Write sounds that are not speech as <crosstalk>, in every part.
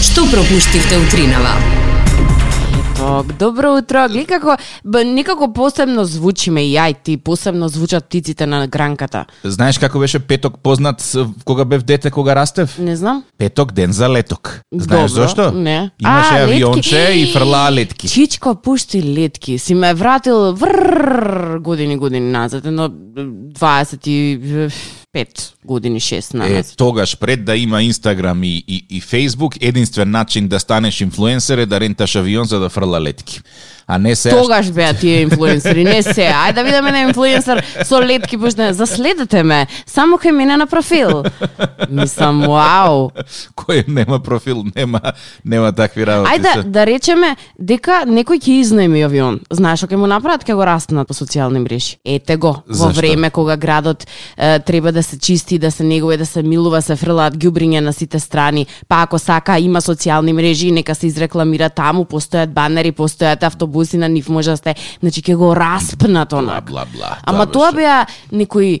што пропуштивте утринава. Ток, добро утро. Гледа како б, никако посебно звучиме и ај ти, посебно звучат птиците на гранката. Знаеш како беше петок познат с- кога бев дете, кога растев? Не знам. Петок ден за леток. Знаеш Добро, зошто? не. Имаше А, авионче летки. и фрлаа летки. Чичко пушти летки. Си ме вратил врррр години години назад, едно 25 години 6 на Е, нас. тогаш пред да има Инстаграм и, и, и Facebook, единствен начин да станеш инфлуенсер е да ренташ авион за да фрла летки. А не се Тогаш беа тие инфлуенсери, не се. Ајде да видиме на инфлуенсер со летки пушне. Заследете ме, само кај мене на профил. Мислам, вау. <laughs> кој нема профил, нема нема такви работи. Ајде се. да речеме дека некој ќе изнајми авион. Знаеш што ќе му направат ќе го раснат по социјални мрежи. Ете го во Зашто? време кога градот е, треба да се чисти, да се негува, да се милува, се фрлаат ѓубриња на сите страни. Па ако сака има социјални мрежи, нека се изрекламира таму, постојат банери, постојат автобуси на нив може да сте. Значи ќе го распнат она. бла, бла, Ама да, тоа беше. беа некои е,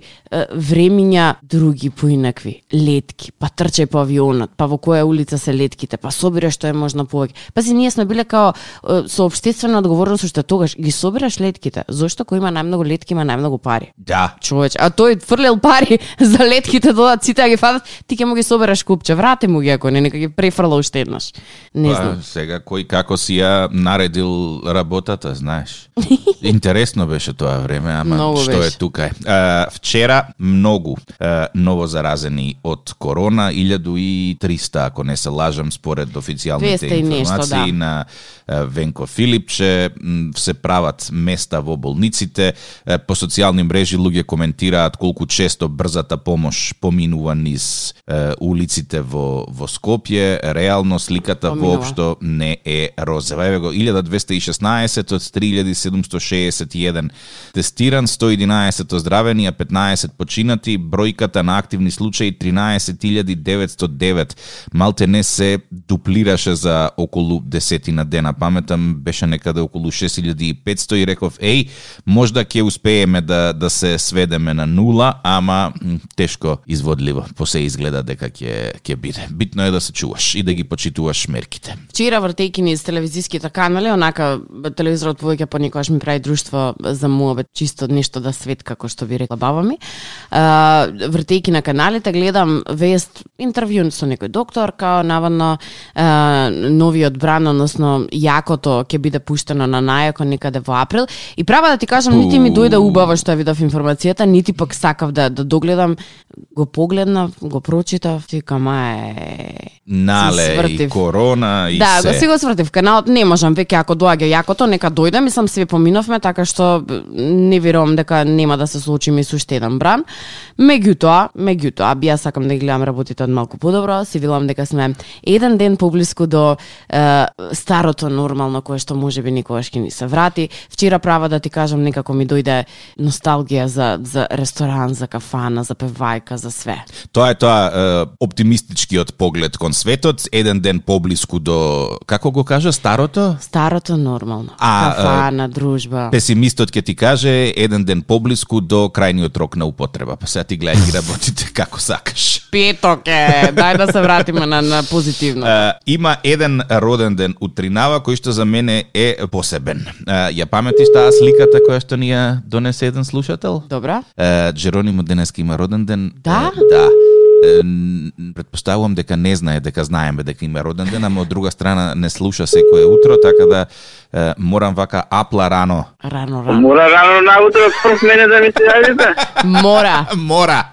времиња други поинакви, летки, па трчај по авионот, па во која улица се летките, па собира што е можна повеќе. Пази, ние сме биле као е, со обштествена одговорност уште тогаш ги собираш летките. Зошто кој има најмногу летки има најмногу пари? Да. Човеч, а тој фрлел пари <laughs> за летките додат сите да ги фатат, ти ќе му ги собераш купче, врати му ги ако не, нека ги префрла уште еднаш. Не Па, знам. сега кој како си ја наредил <laughs> работата, знаеш. Интересно беше тоа време, ама Многу што беше. е тука е. А, вчера многу а, ново заразени од корона, 1300 ако не се лажам според 200 официјалните и нешто, информации да. на а, Венко Филипче, м, се прават места во болниците, Е, по социјални мрежи луѓе коментираат колку често брзата помош поминува низ е, улиците во во Скопје, реално сликата Поминува. воопшто не е розова. Еве го 1216 од 3761 тестиран, 111 оздравени, а 15 починати, бројката на активни случаи 13909. Малте не се дуплираше за околу десетина дена. Паметам беше некаде околу 6500 и реков еј, можда ќе успееме да да се сведеме на нула, ама м, тешко изводливо. Посе изгледа дека ќе ќе биде. Битно е да се чуваш и да ги почитуваш мерките. Вчера вртејки низ телевизиските канали, онака б, телевизорот повеќе понекогаш ми прави друштво за муабет, чисто нешто да свет како што би рекла баба ми. А, вртејки на каналите гледам вест интервју со некој доктор, као наводно а, новиот бран, односно јакото ќе биде пуштено на најако некаде во април и права да ти кажам нити ми дојде убаво што ја видов информацијата, нити пак сакав да да догледам, го погледнав, го прочитав, и кама е Си Нале свртив. и корона и да, се. го си го свртив каналот, не можам веќе ако доаѓа јакото, нека дојде, мислам све поминовме, така што б, не верувам дека нема да се случи ми суште еден бран. Меѓутоа, меѓутоа, би јас сакам да ги гледам работите од малку подобро, си велам дека сме еден ден поблиску до е, старото нормално кое што можеби никогаш ќе ни се врати. Вчера права да ти кажам некако ми дојде носталгија за за ресторан, за кафана, за певајка, за све. Тоа е тоа е, оптимистичкиот поглед кон светот, еден ден поблиску до како го кажа старото? Старото нормално. А, е, кафана, дружба. Песимистот ќе ти каже еден ден поблиску до крајниот рок на употреба. Па сега ти гледај ги работите <laughs> како сакаш. Петок е, дај да се вратиме на, на позитивно. А, има еден роден ден утринава кој што за мене е посебен. А, ја паметиш таа сликата која што ни ја донесе еден слушател? Добра? Е, Джеронимо денеска има роден ден. Да? Е, да. Е, н- Предпоставувам дека не знае дека знаеме дека има роден ден, ама од друга страна не слуша секое утро, така да е, морам вака апла рано. Рано, рано. Мора рано наутро прв мене да ми се јавите. <laughs> Мора. Мора.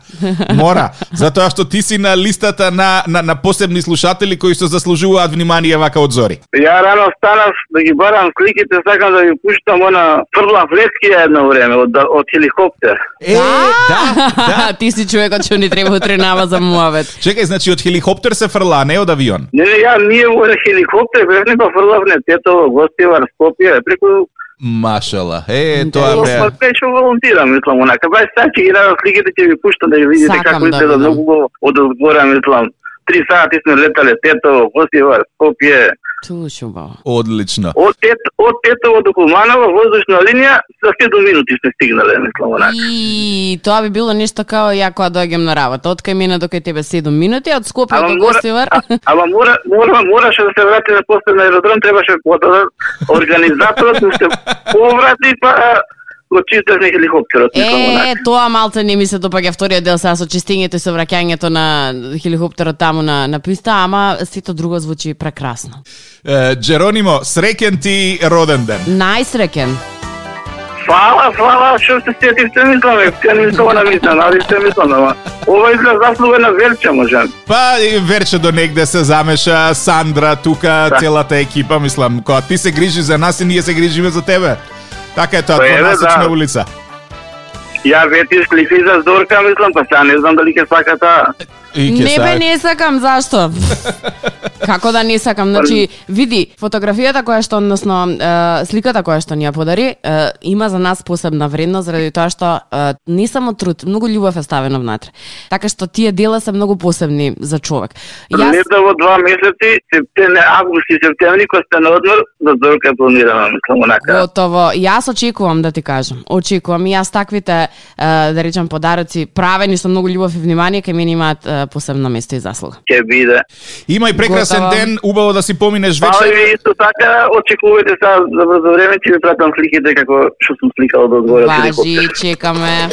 Мора. Затоа што ти си на листата на, на, на посебни слушатели кои што заслужуваат внимание вака од зори. Ја рано станав да ги барам кликите, сакам да ви пуштам она фрла влетки едно време од, од хеликоптер. Е, да, да. <laughs> Ти си човекот што ни треба утринава за муавет. Чекај, значи од хеликоптер се фрла, а не од авион. Не, не, ја ние во хеликоптер бевме па фрлав не тетово, гостивар, Скопје, преку Машала. Е, тоа бе. Па те ќе волонтирам, мислам, онака. Бај сега ќе ги дадам сликите, ќе ви пуштам да ги видите Сакам како да изгледа видам. многу го од одгора, мислам. Три сати сме летале, тетово, гостивар, Скопје, Туш убаво. Одлично. Од, Тет, од Тетово до Куманово воздушна линија за 7 минути сме стигнале, мислам онака. И тоа би било нешто као ја кога доаѓам на работа. Од кај мене до кај тебе 7 минути, а од Скопје Ама до мора, Да. Косивар. а, ама мора, мора, мораше да се врати на после на аеродром, требаше го да организаторот му се поврати, па го чистевме хеликоптерот, мислам <laughs> онака. Е, тоа малце не ми се допаѓа вториот дел сега со чистењето и со враќањето на хеликоптерот таму на, на писта, ама сето друго звучи прекрасно. Е, Джеронимо, среќен ти роден ден. Најсреќен! Фала, фала, што се сетивте, мислам, е, ја не мислам на мислам, али се мислам, ама ова изглед заслуга на Верче, можам. Па и Верче до негде се замеша, Сандра тука, Да. целата екипа, мислам, кога ти се грижи за нас и ние се грижиме за тебе. Така е тоа, Па, еве, двонасечна да. улица. Ја ветиш клифи за Зорка, мислам, па сега не знам дали ќе сака таа. И ќе Не сак- бе, не сакам, зашто? Како да не сакам? Значи, види, фотографијата која што, односно, е, сликата која што ни ја подари, е, има за нас посебна вредност, заради тоа што е, не само труд, многу љубов е ставена внатре. Така што тие дела се многу посебни за човек. Јас, Летово два месеци, септември, август и септември, кога сте на одмор, за Зорка е да- планирана, мислам, онака. Готово. Јас очекувам да ти кажам. Очекувам и јас таквите е, да речам подароци правени со многу љубов и внимание кај мене имаат е, посебно место и заслуга. Ќе биде. Има и прекрасен Готово. ден, убаво да си поминеш Фала вечер. ви исто така, очекувате сега за брзо време, ќе ви пратам сликите како што сум сликал од одгоре. од Важи, хеликоптер. чекаме.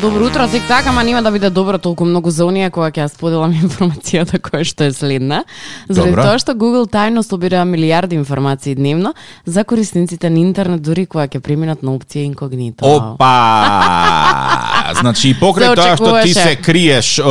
Добро утро, тик так, ама нема да биде добро толку многу за оние кога ќе ја споделам <laughs> информацијата која што е следна. Заради Добро. тоа што Google тајно собира милиарди информации дневно за корисниците на интернет дури кога ќе преминат на опција инкогнито. Опа! Значи, и <laughs> покрај Се тоа што ти очекуваше. се криеш, е,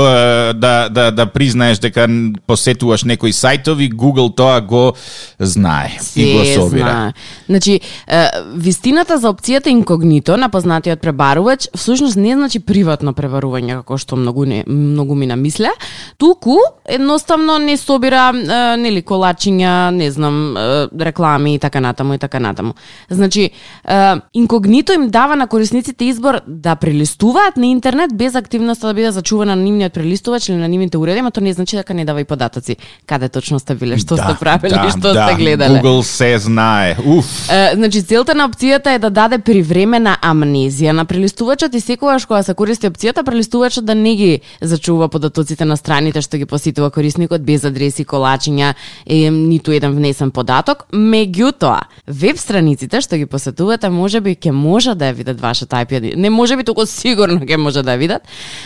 да, да, да признаеш дека н- посетуваш некои сајтови, Google тоа го знае и го Се собира. знае. Значи, е, вистината за опцијата инкогнито на познатиот пребарувач всушност не значи приватно пребарување како што многу не многу ми намисля, туку едноставно не собира е, нели колачиња, не знам, е, реклами и така натаму и така натаму. Значи, е, инкогнито им дава на корисниците избор да прелистуваат на интернет без активноста да биде зачувана на нивниот прелистувач или на нивните уреди, ама тоа не значи дека не дава и податоци. Каде точно сте биле, што сте правеле, и што да, сте гледале. Google се знае. Уф. Е, значи целта на опцијата е да даде привремена амнезија на прелистувачот и секогаш кога се користи опцијата прелистувачот да не ги зачува податоците на страните што ги посетува корисникот без адреси, колачиња, е, ниту еден внесен податок. Меѓутоа, веб страниците што ги посетувате можеби ќе може да ја видат вашата IP адреса. Не можеби туку сигурно ќе може да ја видат.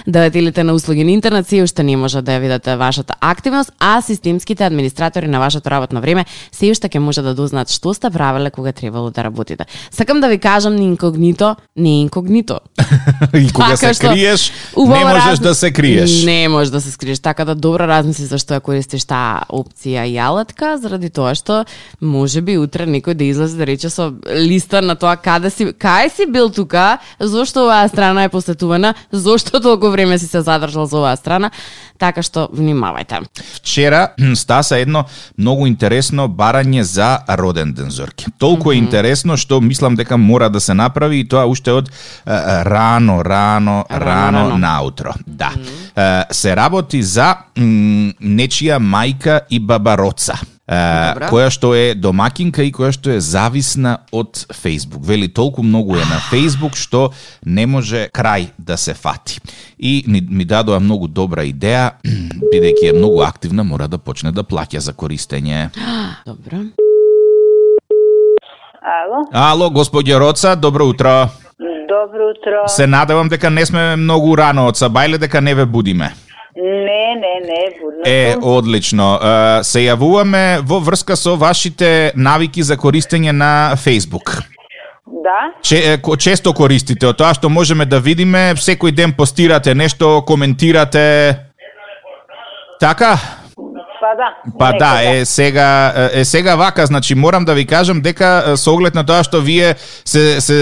Давателите на услуги на интернет се уште не може да ја видат вашата активност, а системските администратори на вашето работно време се уште ќе може да дознаат што сте правеле кога требало да работите. Сакам да ви кажам, не инкогнито, не е инкогнито. И кога Така се што, криеш, не убаво можеш раз- да се криеш. Не можеш да се скриеш, така да добро размисли зашто ја користиш таа опција јалатка, заради тоа што може би утре некој да излезе да рече со листа на тоа каде си, кај си бил тука, зошто оваа страна е посетувана, зошто толку време си се задржал за оваа страна, така што внимавајте. <gasps> Вчера стаса едно многу интересно барање за роден ден Зорки. Толку е интересно што мислам дека мора да се направи и тоа уште од е, е, рано, рано, Рано, рано рано. наутро. Да. Е, Се работи за м, нечија мајка и бабароца. е, Добра. која што е домакинка и која што е зависна од Facebook. Вели толку многу е на Facebook што не може крај да се фати. И ни- ми дадоа многу добра идеја, <clears throat> бидејќи е многу активна, мора да почне да плаќа за користење. Добро. Ало, Ало, господје Роца, добро утро. добро утро. Се надевам дека не сме многу рано од сабајле, дека не ве будиме. Не, не, не, будно Е, сум. одлично. Е, Се јавуваме во врска со вашите навики за користење на Facebook. Да, Че, е, ко- често користите од тоа што можеме да видиме, секој ден постирате нешто, коментирате. Така? па да. Па да, некогаш. е сега е сега вака, значи морам да ви кажам дека е, со оглед на тоа што вие се се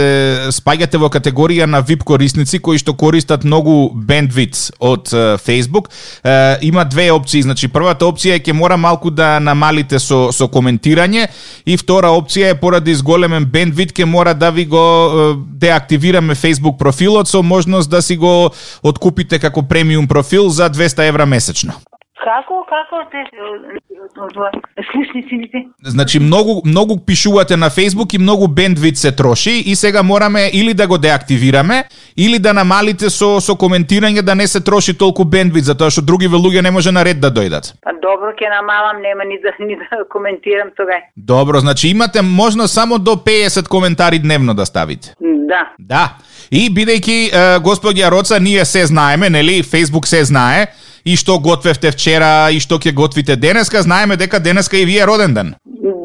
спаѓате во категорија на VIP корисници кои што користат многу бендвит од е, Facebook, е, има две опции, значи првата опција е ќе мора малку да намалите со со коментирање и втора опција е поради зголемен бендвит ќе мора да ви го е, деактивираме Facebook профилот со можност да си го откупите како премиум профил за 200 евра месечно. Како, како те е, е, слушниците? Значи многу многу пишувате на Facebook и многу бендвит се троши и сега мораме или да го деактивираме или да намалите со со коментирање да не се троши толку бендвит затоа што други луѓе не може на ред да дојдат. Па добро ќе намалам, нема ни да ни да коментирам тога. Добро, значи имате можност само до 50 коментари дневно да ставите. Да. Да. И бидејќи е, господја Роца, ние се знаеме, нели, Facebook се знае и што готвевте вчера и што ќе готвите денеска, знаеме дека денеска и вие роден ден.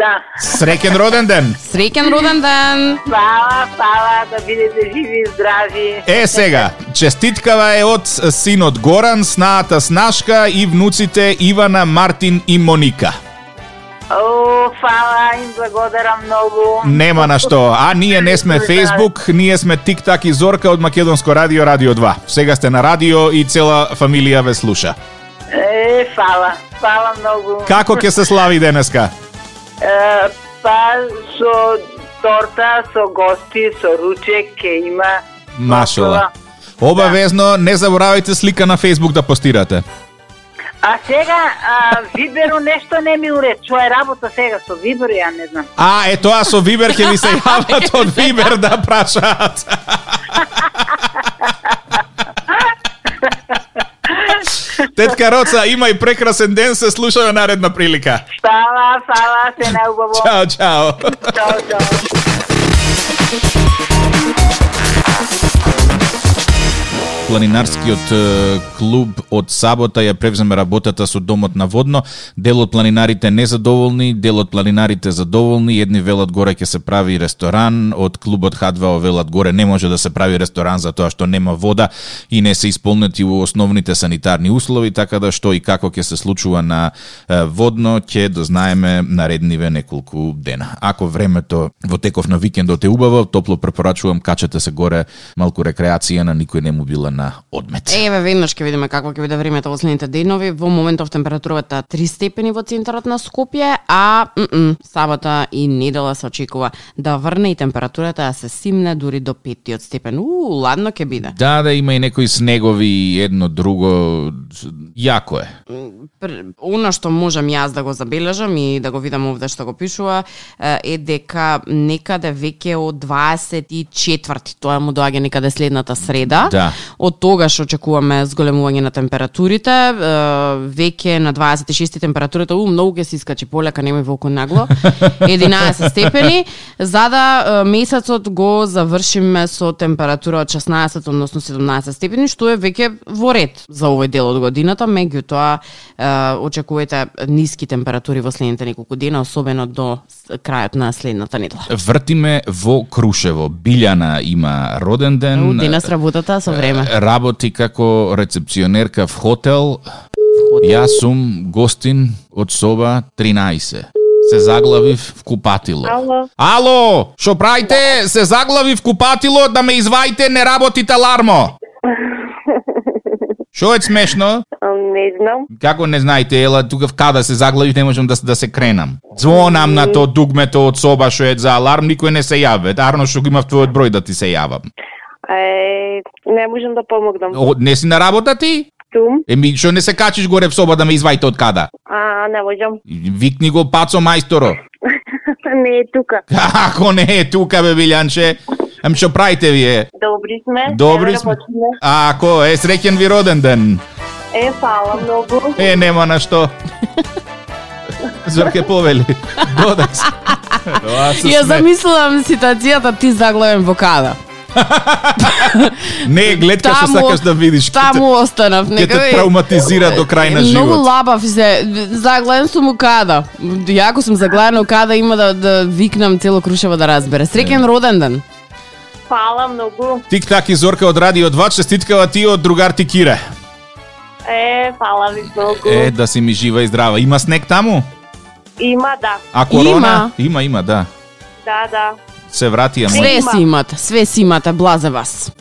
Да. Среќен роден ден. Среќен роден ден! Фала, фала, да бидете живи и здрави. Е сега, честиткава е од синот Горан, снаата Снашка и внуците Ивана, Мартин и Моника. О, фала, им благодарам многу. Нема на што. А ние не сме Facebook, ние сме TikTok и Зорка од Македонско радио Радио 2. Сега сте на радио и цела фамилија ве слуша. Е, фала, фала многу. Како ќе се слави денеска? Е, па со торта, со гости, со ручек ќе има. Машала. Обавезно не заборавајте слика на Facebook да постирате. А сега, а, Виберу нешто не ми уред. Чоја работа сега со Виберу, ја не знам. А, е тоа со Вибер ќе ви се јават од Вибер да прашаат. Тетка Роца, имај прекрасен ден, се слушаме наредна прилика. Фала, фала, се најубаво. Чао, чао. Чао, чао. Планинарскиот е, клуб од сабота ја превземе работата со домот на водно. Дел од планинарите незадоволни, дел од планинарите задоволни. Едни велат горе ќе се прави ресторан, од клубот Хадвао велат горе не може да се прави ресторан затоа што нема вода и не се исполнети основните санитарни услови, така да што и како ќе се случува на е, водно ќе дознаеме наредниве неколку дена. Ако времето во теков на викендот е убаво, топло препорачувам качете се горе малку рекреација на никој не му била на одмет. Еве веднаш ќе видиме какво ќе биде времето во следните денови. Во моментов температурата 3 степени во центарот на Скопје, а м-м, сабота и недела се очекува да врне и температурата да се симне дури до 5 степен. У, ладно ќе биде. Да, да, има и некои снегови, едно, друго, јако е. Пр- Оно што можам јас да го забележам и да го видам овде што го пишува е, е дека некаде веќе од 24 тоа му доаѓа некаде следната среда. Да. Од тогаш очекуваме зголемување на температурите. е, Веќе на 26 температурата у многу ќе се искачи полека, немој волку нагло. 11 степени, за да е, месецот го завршиме со температура од 16 односно 17 степени, што е веќе во ред за овој дел од годината, меѓутоа е, очекувате ниски температури во следните неколку дена, особено до с- крајот на следната недела. Вртиме во Крушево. Билјана има роден У, ден. денес работата со време. Работи како рецепционерка в хотел. Јас сум гостин од соба 13. Се заглавив в купатило. Ало. Ало, што правите? Се заглавив в купатило да ме изваите, не работите алармо. Што е смешно? Не знам. Како не знаете, ела тука в када се заглавив, не можам да, да се кренам. Звонам на то дугмето од соба што е за аларм, никој не се јаве. Арно што го имав твојот број да ти се јавам. Е, не можам да помогнам. О, не си на работа ти? Тум, Еми, што не се качиш горе в соба да ме изваите од када? а не можам. <laughs> Викни го пацо мајсторо. <laughs> не е тука. Како не е тука, бе, Билјанче? Ам што правите вие? Добри сме. Добри да еве сме. работиме. Ако, е, среќен ви роден ден. Е, фала многу. Е, нема на <laughs> што. Зорке повели. Бодакс. Тоа се Ја сме- замислувам ситуацијата ти заглавен во када. Не, гледка што сакаш да видиш. Таму останав Ке те некаде. травматизира до крај на Многу живот. лабав се. Заглавен сум у када. Јако сум заглавен у када, има да, да викнам цело Крушево да разбере. Среќен роден ден. Фала многу. Тик так и Зорка од Радио 2 честиткава ти од другар ти Кире. Е, фала ви много. Е, да си ми жива и здрава. Има снег таму? Има, да. А корона? Има, има, има да. Да, да. Се врати, ама... Све си имате, све си имате, блазе вас.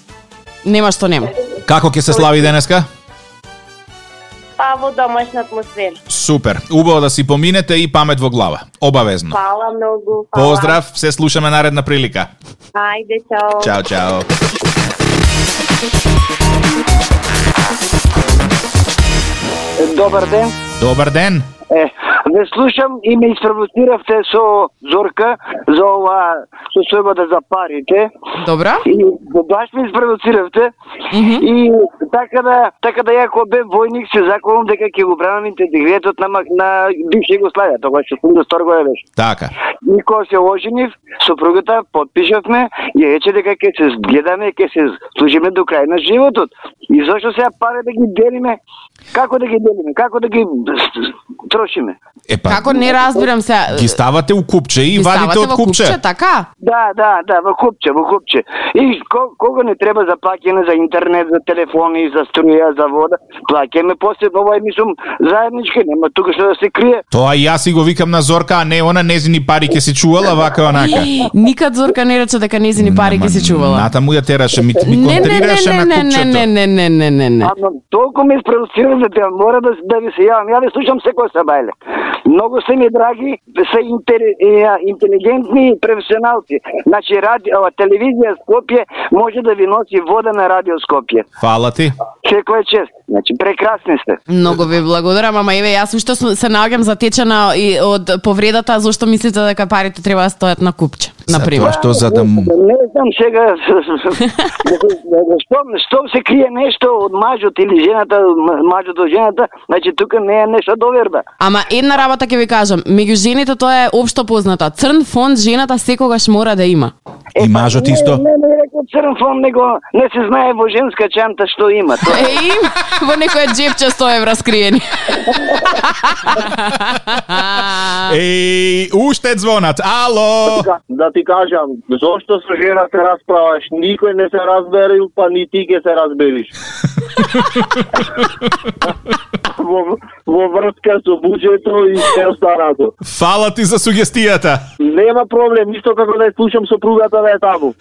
Нема што нема. Како ќе се слави денеска? Па во домашна атмосфера. Супер. Убаво да си поминете и памет во глава. Обавезно. Фала многу. Фала. Поздрав, се слушаме наредна прилика. Ајде, чао. Чао, чао. Добар ден. Добар ден. Е, не слушам и ме испровоциравте со Зорка за ова со сојба да запарите. Добра? И баш ме испровоциравте. И така да, така да ја кој бев војник се заклонам дека ќе го бранам интегритетот на, мак- на бивша Југославија, тоа што сум до стор година беше. Така. И кога се оженив, сопругата подпишавме и рече дека ќе се гледаме, ќе се служиме до крај на животот. И зошто сега пари да ги делиме? Како да ги делиме? Како да ги трошиме? Епа, Како не разбирам се. Па. ги ставате у купче и вадите од купче. така? Да, да, да, во купче, во купче. И ко- кога не треба за плаќање за интернет, за телефони, за струја, за вода, плаќаме после ова е мислам заеднички, нема тука што да се крие. Тоа и јас си го викам на Зорка, а не она незини пари ќе си чувала вака онака. Никад Зорка не рече дека незини пари Ама, ги се чувала. Ната му ја тераше, ми, ми Не, не, не, контрираше не, на не, не, купчето. не, не, не, не, не, не. Ама толку ме спровоцирате, да мора да, да ви се јавам. Ја ви слушам секој сабајле. Много се ми драги, се интели, е, интелигентни и професионалци. Значи, ради, ова, телевизија Скопје може да ви носи вода на радио Скопје. Фала ти. Секој е чест. Значи, прекрасни сте. Многу ви благодарам, ама еве јас уште сум- се наоѓам затечена и од повредата зошто мислите дека парите треба да стојат на купче, на пример. Затоа што за да му... Не знам <laughs> сега што, што се крие нешто од мажот или жената, м- мажот од жената, значи тука не е нешто доверба. Ама една работа ќе ви кажам, меѓу жените тоа е општо позната. Црн фон жената секогаш мора да има. И мажот исто. Не, не, не рекол црн фон, него не се знае во женска чанта што има. Тоа Е, им, <laughs> во некоја джепче 100 евра скриени. Еј, уште звонат. Ало! Ка- Да ти кажам, зошто со жена се расправаш? Никој не се разберил, па ни ти ќе се разбериш. во, во врска со буџето и се останато. Фала ти за сугестијата. Нема проблем, исто како да ја слушам сопругата да е таму.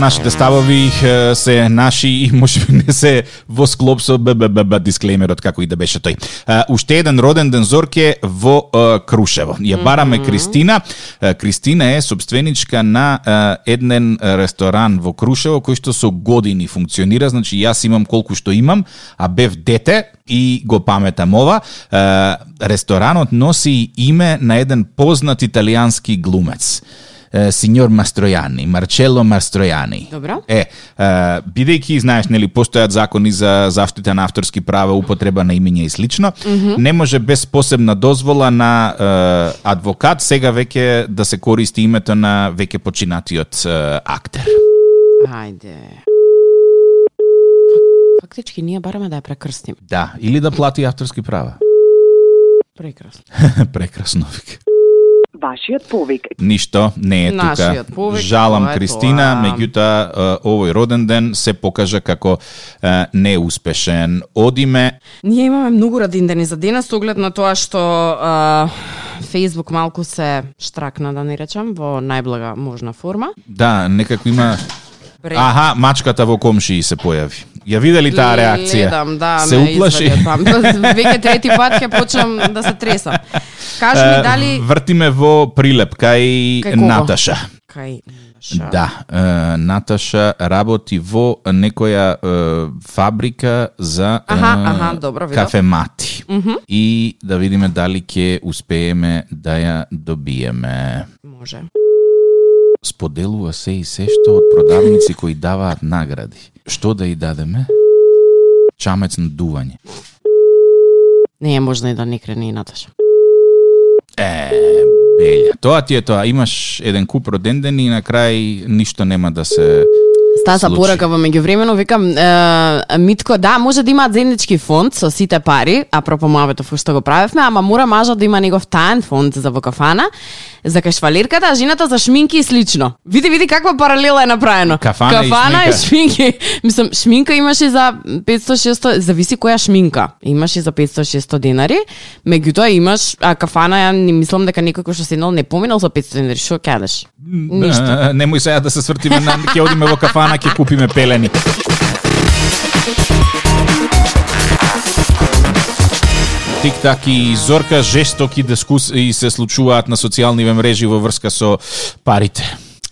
Нашите ставови е, се наши и може би не се во склоп со БББ дисклеймерот како и да беше тој. Е, Уште еден роден ден Зорке во е, Крушево. Ја бараме Кристина. Е, Кристина е собственичка на е, еден ресторан во Крушево кој што со години функционира, значи јас имам колку што имам, а бев дете и го паметам ова. Е, Ресторанот носи име на еден познат италијански глумец е, синьор Мастројани, Марчело Мастројани. Добро. Е, е бидејќи знаеш нели постојат закони за заштита на авторски права, употреба на имења и слично, не може без посебна дозвола на е, адвокат сега веќе да се користи името на веќе починатиот е, актер. <laughs> Ајде. Фактички ние бараме да ја прекрстим. Да, или да плати авторски права. <laughs> Прекрасно. Прекрасно вик. Вашиот повик Ништо не е Нашиот тука. повик, Жалам тоа е Кристина, тоа. меѓутоа е, овој роден ден се покажа како е, неуспешен. Одиме Ние имаме многу радиндени за денес, со оглед на тоа што а, Facebook малку се штракна, да не речам, во најблага можна форма. Да, некако има... Бре, Аха, мачката во комшии се појави. Ја виде ли таа реакција? Гледам, да, се ме уплаши. извади од <laughs> памет. Веќе трети пат ќе почнам да се тресам. Кажи ми Е, дали... Вртиме во прилеп кај, Кај кого? Наташа. Кај... Ша. Да, е, Наташа работи во некоја е, фабрика за е, Аха, аха, добро, видов. кафемати. И да видиме дали ќе успееме да ја добиеме. Може. Споделува се и се што од продавници кои даваат награди. Што да ја дадеме? Чамец на дување. Не е можно и да не крене и Наташа. Е, белја. Тоа ти е тоа. Имаш еден куп родендени и на крај ништо нема да се Стаса случи. порака во меѓувремено, викам, е, Митко, да, може да имаат заеднички фонд со сите пари, апропо муавето што го правевме, ама мора мажот да има негов таен фонд за вакафана, за кашфалирката, а жената за шминки и слично. Види, види каква паралела е направено. Кафана и Кафана и шминка. шминки. Мислам, шминка имаше за 500-600, зависи која шминка. Имаше за 500-600 денари, меѓутоа имаш, а кафана, ја не мислам дека некој кој што седнал не поминал за 500 денари, што ќе јадеш? Ништо. Е, Немој сега да се свртиме на ќе одиме во кафана, ќе купиме пелени. Тик-так и Зорка жестоки дискусии се случуваат на социјалниве мрежи во врска со парите.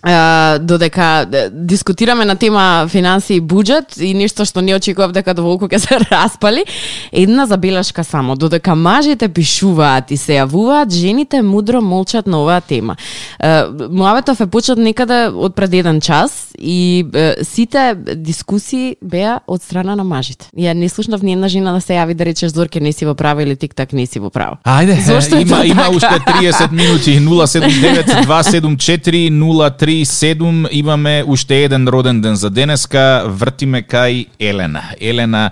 Е, додека е, дискутираме на тема финансии и буџет и ништо што не очекував дека доволку ќе се <laughs> распали, една забелешка само. Додека мажите пишуваат и се јавуваат, жените мудро молчат на оваа тема. Е, Муаветов е почнат некаде од пред еден час и е, сите дискусии беа од страна на мажите. Ја не слушнав ни една жена да се јави да речеш Зорке не си во право или тик-так не си во право. Ајде, Зошто е има, тоа има така? уште 30 минути, 079-274-037, имаме уште еден роден ден за денеска, вртиме кај Елена. Елена е,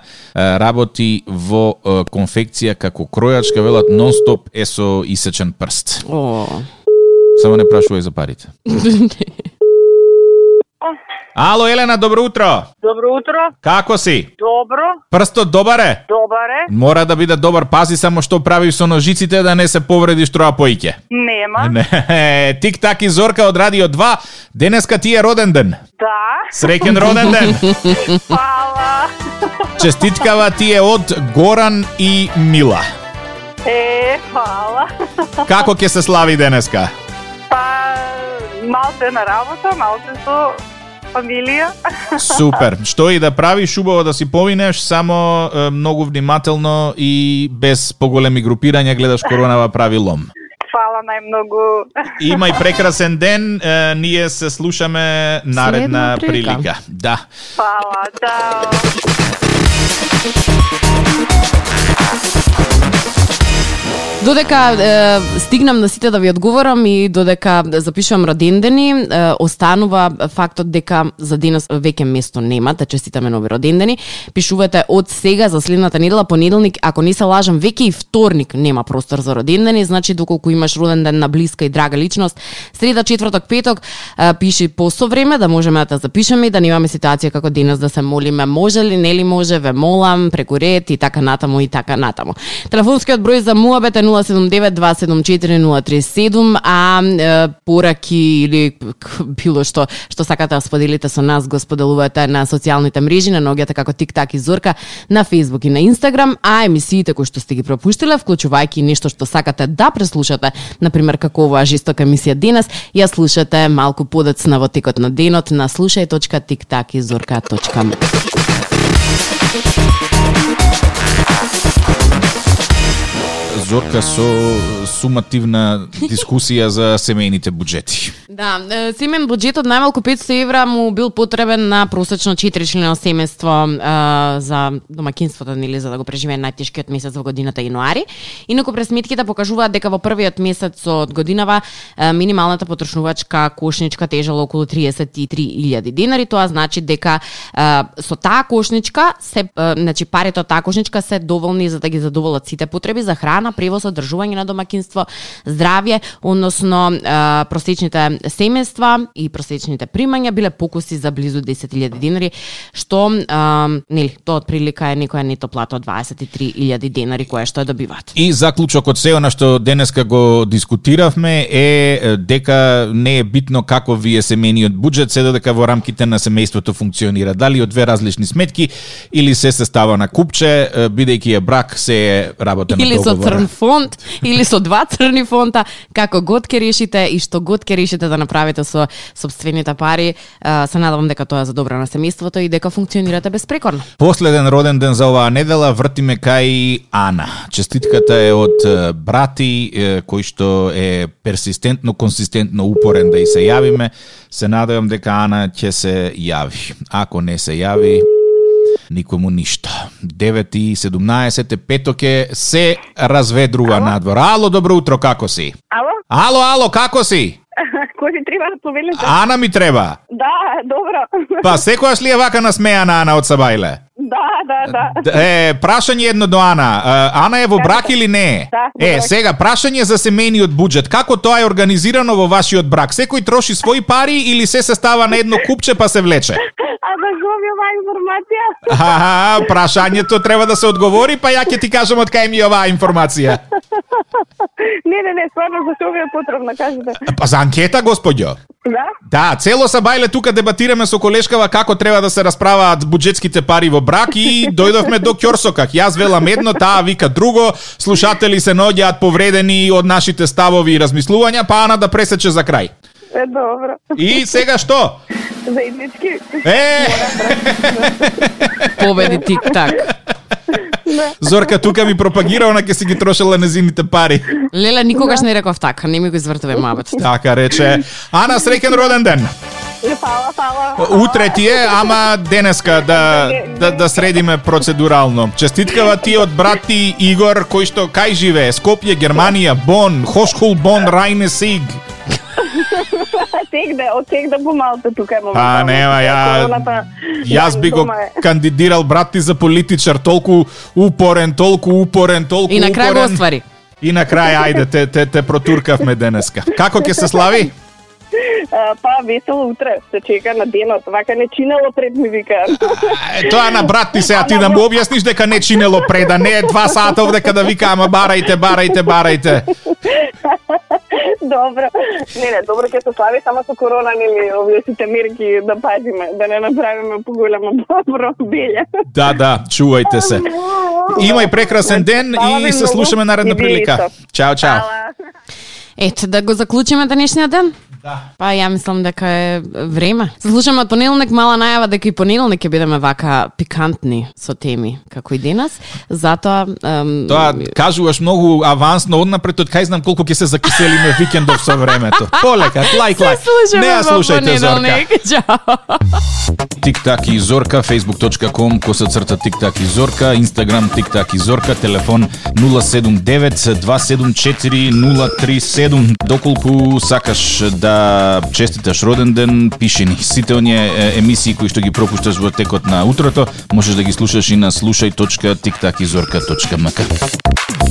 работи во е, конфекција како кројачка, велат нон-стоп е со исечен прст. О, Само не прашувај за парите. Ало, Елена, добро утро! Добро утро. Како си? Добро. Прстот добар е? Добар е. Мора да биде добар, пази само што правиш со ножиците да не се повредиш троа поиќе. Нема. Не, тик так и Зорка од Радио 2. Денеска ти е роден ден. Да. Среќен роден <laughs> ден. Пала. Честиткава ти е од Горан и Мила. Е, пала. Како ќе се слави денеска? Па, малце на работа, малце со фамилија. Супер. Што и да правиш, убаво да си поминеш, само е, многу внимателно и без поголеми групирања гледаш коронава прави лом. Фала најмногу. Имај прекрасен ден, е, ние се слушаме наредна Следна прилика. прилика. Да. Фала, чао. Додека е, стигнам на сите да ви одговорам и додека запишувам родендени, е, останува фактот дека за денес веќе место нема, те честитаме нови родендени. Пишувате од сега за следната недела, понеделник, ако не се лажам, веќе и вторник нема простор за родендени, значи доколку имаш роден ден на блиска и драга личност, среда, четврток, петок, е, пиши посо време да можеме да те запишеме и да немаме ситуација како денес да се молиме може ли, нели може, ве молам, преку ред и така натаму и така натаму. Телефонскиот број за муабет е 079-274-037, а е, пораки или к- било што што сакате да споделите со нас, го споделувате на социјалните мрежи, на ногите како TikTok и Зорка, на Facebook и на Instagram, а емисиите кои што сте ги пропуштиле, вклучувајќи и нешто што сакате да преслушате, например како оваа жестока емисија денес, ја слушате малку подоцна во текот на денот на слушај.tiktakizorka.me. Зорка со сумативна дискусија за семејните буџети. Да, е, семен буџетот најмалку 500 евра му бил потребен на просечно 4 члено семејство е, за домакинството, нели, за да го преживее најтешкиот месец во годината јануари. Инаку пресметките покажуваат дека во првиот месец од годинава е, минималната потрошнувачка кошничка тежела околу 33.000 денари, тоа значи дека е, со таа кошничка се е, значи парите од таа кошничка се доволни за да ги задоволат сите потреби за храна, превоз, одржување на домакинство, здравје, односно е, просечните семејства и просечните примања биле покуси за близу 10.000 денари, што е, нели, тоа отприлика е некоја нето плата од 23.000 денари која што ја добиваат. И заклучок од се она што денеска го дискутиравме е е, дека не е битно како ви е семениот буџет, се дека во рамките на семејството функционира. Дали од две различни сметки или се се става на купче, е, бидејќи е брак, се е работа на Или со договора. црн фонт, или со два црни фонта, како год ке решите и што год ке решите да направите со собствените пари, а, се надавам дека тоа е за добро на семејството и дека функционирате безпрекорно. Последен роден ден за оваа недела вртиме кај Ана. Честитката е од е, брати е, кој што е персистентно, консистентно упорен да и се јавиме. Се надевам дека Ана ќе се јави. Ако не се јави, никому ништо. 9 и 17 е петок е се разведрува надвор. Ало, добро утро, како си? Ало, Ало, ало, како си? кој ви треба да повеле? Ана ми треба. Да, добро. Па секојаш ли е вака насмејана Ана од Сабајле? Да, да, да. Д- Е, прашање едно до Ана. Е, Ана е во брак или не? е? Да, во е, брак. сега прашање за семениот буџет. Како тоа е организирано во вашиот брак? Секој троши своји пари или се се става на едно купче па се влече? А да губи оваа информација? Ха-ха, прашањето треба да се одговори, па ја ќе ти кажам од кај ми е оваа информација. Не, не, не, стварно, зашто ви е потребно, кажете. Па за анкета, господјо. Да? Да, цело Сабајле тука дебатираме со колешкава како треба да се расправаат буџетските пари во брак и дојдовме до Ќорсокак. Јас велам едно, таа вика друго, слушатели се наоѓаат повредени од нашите ставови и размислувања, па Ана да пресече за крај. Е, добро. И сега што? Заеднички. Е, Победи тик-так. Зорка тука ми пропагира, она ќе си ги трошела незините пари. Леле, никогаш не реков така, не ми го извртуве мабет. Така рече. Ана, среќен роден ден. И фала, фала. Па, Утре ти е, ама денеска да, да, да средиме процедурално. Честиткава ти од брат ти Игор, кој што кај живее, Скопје, Германија, Бон, Хошкул, Бон, Рајне, Сиг. Отек да, отек да помалку тука е Па нема, ја, Короната, јас би го дома е. кандидирал брат ти за политичар, толку упорен, толку упорен, толку И на крај го упорен. оствари. И на крај, ајде, те, те, те протуркавме денеска. Како ќе се слави? А, Па весело утре, се чека на денот. Вака не чинало пред ми <laughs> вика. Е, Тоа на брат ти се, а ти да му објасниш дека не чинело преда, не е два сата овде када вика, ама барајте, барајте, барајте. добро. Не, не, добро ќе се слави само со корона нели овие сите мерки да пазиме, да не направиме поголема добро <laughs> белја. Да, да, чувајте се. Имај прекрасен ден Фала ви и се Значи, многу. слушаме наредна И вие прилика. исто. Чао, чао. Фала. Ете, да го заклучиме денешниот ден? Да. Па ја мислам дека е време. Се Слушаме од понеделник мала најава дека и понеделник ќе бидеме вака пикантни со теми како и денес. Затоа ем, Тоа кажуваш многу авансно однапред, од кај знам колку ќе се закиселиме викендов со времето. Полека, лайк, се лайк. слушаме Не ја во слушајте Зорка. понеделник. <laughs> Чао. Тик-так и Зорка, facebook.com, коса црта Тик-так и Зорка, Instagram Тик-так и Зорка, телефон 079-274-037. Доколку сакаш да честиташ роден ден, пиши ни. Сите оние е, емисии кои што ги пропушташ во текот на утрото, можеш да ги слушаш и на слушај.тиктакизорка.мк.